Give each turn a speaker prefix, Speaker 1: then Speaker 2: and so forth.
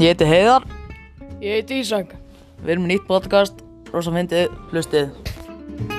Speaker 1: Ég heiti Heiðar,
Speaker 2: Ég heiti Ísak.
Speaker 1: við erum með nýtt podcast, rosa myndið, hlustið.